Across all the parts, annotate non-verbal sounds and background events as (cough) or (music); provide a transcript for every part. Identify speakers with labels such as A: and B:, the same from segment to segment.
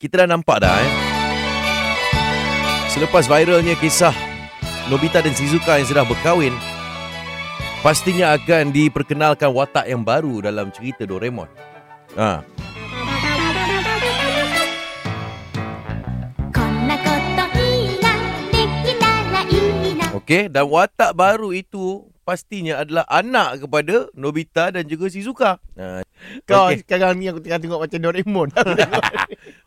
A: Kita dah nampak dah eh. Selepas viralnya kisah Nobita dan Shizuka yang sudah berkahwin, pastinya akan diperkenalkan watak yang baru dalam cerita Doraemon. Ha.
B: こんなこといいなできたらいいな
A: Okey, dan watak baru itu pastinya adalah anak kepada Nobita dan juga Shizuka. Ha.
C: Kau
A: Okey.
C: okay. sekarang ni aku tengah tengok macam Doraemon.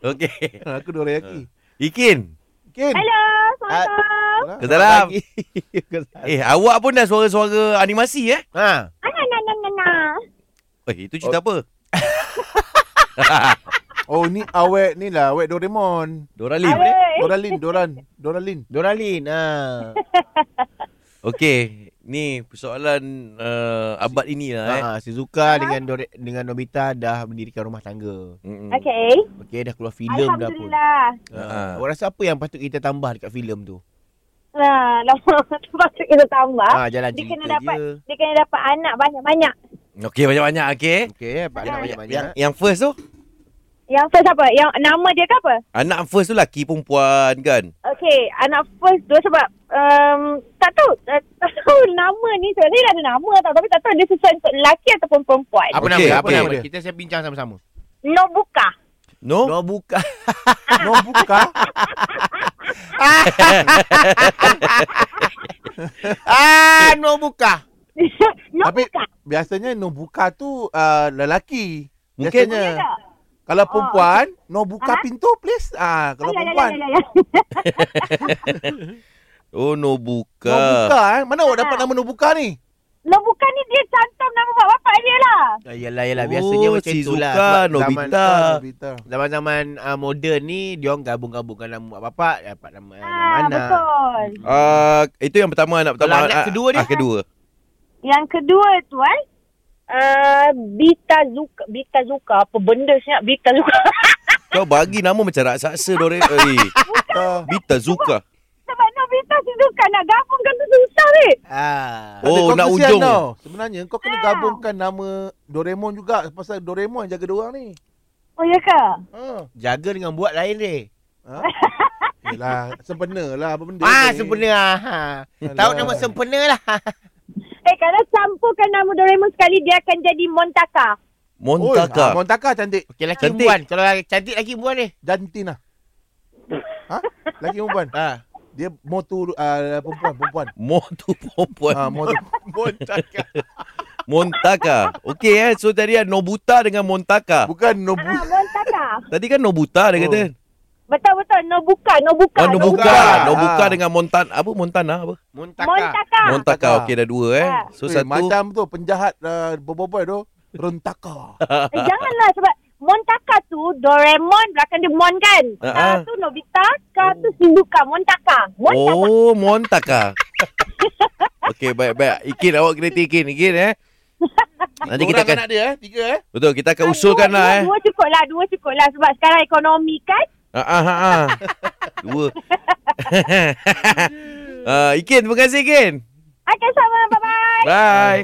A: Okey.
C: aku Dorayaki.
A: Ikin.
C: Ken.
D: Hello, Assalamualaikum.
C: Ah,
A: Kesalam.
C: pagi. Kesalam.
A: Eh, awak pun dah suara-suara animasi eh?
C: (laughs) Ha.
D: Ah, nah, nah, nah, nah, nah.
A: Eh, itu cerita apa?
E: Oh ni awet ni lah awet Doraemon.
A: Doralin eh?
D: Awek.
E: Doralin, Doran, Doralin.
C: Doralin. Ha.
A: Okey, ni persoalan uh, abad inilah eh.
C: Ha, Shizuka dengan Dore, dengan Nobita dah mendirikan rumah tangga.
A: Mm-mm.
E: Hmm.
D: Okay.
C: Okey, dah keluar filem dah pun.
D: Alhamdulillah.
A: Ha.
C: Ha. Awak rasa apa yang patut kita tambah dekat filem tu?
D: Nah, Ha, lama (laughs) tu patut kita tambah.
E: Ah,
C: Ha, jalan
D: Ah, Dia
C: cerita
D: kena
C: dia.
D: dapat dia kena dapat anak banyak-banyak.
A: Okey, banyak-banyak okey.
C: Okey, eh, dapat anak banyak-banyak.
A: Yang yang first tu,
D: Yang first apa? Yang nama dia ke apa?
A: anak first tu laki perempuan kan?
D: Okay, anak first dua sebab um, tak tahu (laughs) eh, tak tahu nama ni sebenarnya dia ada nama tau tapi tak tahu dia sesuai untuk lelaki ataupun perempuan.
C: Apa
A: Okey,
C: nama? Apa
A: okey.
C: nama? Kita siap bincang sama-sama.
D: (laughs) Nobuka.
A: No?
C: Oh, buka.
E: Nobuka.
C: Ah, no buka.
E: Tapi
D: Nobuka.
E: biasanya Nobuka tu uh, lelaki.
A: Mungkin-
D: Ya
E: biasanya.
D: tak?
E: Kalau perempuan, Nobuka pintu please. Ah, kalau
D: Alah, alah,
E: perempuan.
D: alah, alah.
A: Oh, no buka.
E: Nobuka eh. Mana awak dapat
D: Ah.
E: nama Nobuka ni?
D: Nobuka ni dia cantum nama mak bapak dia lah.
C: Ah, Yalah, yalah.
A: Oh,
C: Biasanya macam itulah.
A: Shizuka,
C: Sebab
A: Nobita.
C: zaman-
E: Ah, Nobita.
C: Zaman-zaman uh, moden ni dia orang gabung-gabungkan nama mak bapak dapat nama ah, nama
D: Ah,
C: anak.
D: betul.
A: Uh, itu yang pertama anak
C: Kalau
A: pertama.
C: anak
A: Ah,
C: kedua dia?
A: Ah, kedua.
D: Yang kedua tu kan uh, Bita Zuka Bita Zuka Apa benda sebenarnya Bita Zuka
A: Kau bagi nama macam raksasa Dore. Eh,
E: Ah.
A: Bita Zuka.
D: (laughs) Sebab no Bita Zuka Nak gabungkan tu susah ni
C: Ah.
A: Oh,
E: Adik, kau
A: nak
E: kesian
A: ujung.
E: tau. Sebenarnya kau kena gabungkan nama Doraemon juga pasal Doraemon yang jaga dia orang ni.
D: Oh ya ke
E: Ha.
C: Jaga dengan buat lain deh.
E: Ha? Yelah, sempena lah apa benda
C: Ah,
E: ni.
C: sempena. ah, Ha. Tahu nama sempena lah.
D: Eh kalau campurkan nama Doraemon sekali Dia akan jadi Montaka
E: Oi, ah,
A: Montaka.
E: Montaka cantik.
C: Okey, laki
A: Cantik.
C: perempuan. Kalau laki- cantik laki perempuan ni.
E: Jantin lah. Ha? Laki perempuan.
C: Ha.
E: Dia motu uh, perempuan, perempuan.
A: Mo tu perempuan.
E: Ha, (laughs) motu.
C: Montaka.
A: Montaka. Okey eh. So tadi ada Nobuta dengan Montaka.
E: Bukan
D: (laughs)
E: Nobu.
D: Ah Montaka
A: Tadi kan Nobuta dia
E: Oh.
A: kata.
D: Betul-betul Nobuka Nobuka
A: Oh, Nobuka.
E: Nobuka.
A: Nobuka
E: Ah.
A: dengan Montan. Apa Montana apa?
C: Montaka.
D: Montaka
A: Montaka. Okey dah dua eh.
D: Ah.
A: So
E: eh,
A: satu.
E: Macam tu penjahat uh, berboboy tu. Rentaka.
D: Eh, Janganlah sebab Montaka tu Doraemon Belakang dia Mon kan
A: Ah,
D: Ka
A: ah.
D: tu Nobita Ka tu Shizuka Montaka Montaka
A: Oh, Montaka. (laughs) Okey, baik-baik. Ikin, awak kena take Ikin. Ikin, eh. Nanti kita
E: Orang
A: akan...
E: anak dia eh, tiga eh.
A: Betul, kita akan
D: Ah,
A: usulkan
D: dua,
A: lah, eh.
D: dua, Dua cukup lah Dua cukup lah Sebab sekarang ekonomi kan
A: Ha, ha, ha, ha. Dua. (laughs) Ah, Ikin, terima kasih, Ikin.
D: Akan sama. Bye-bye.
A: Bye.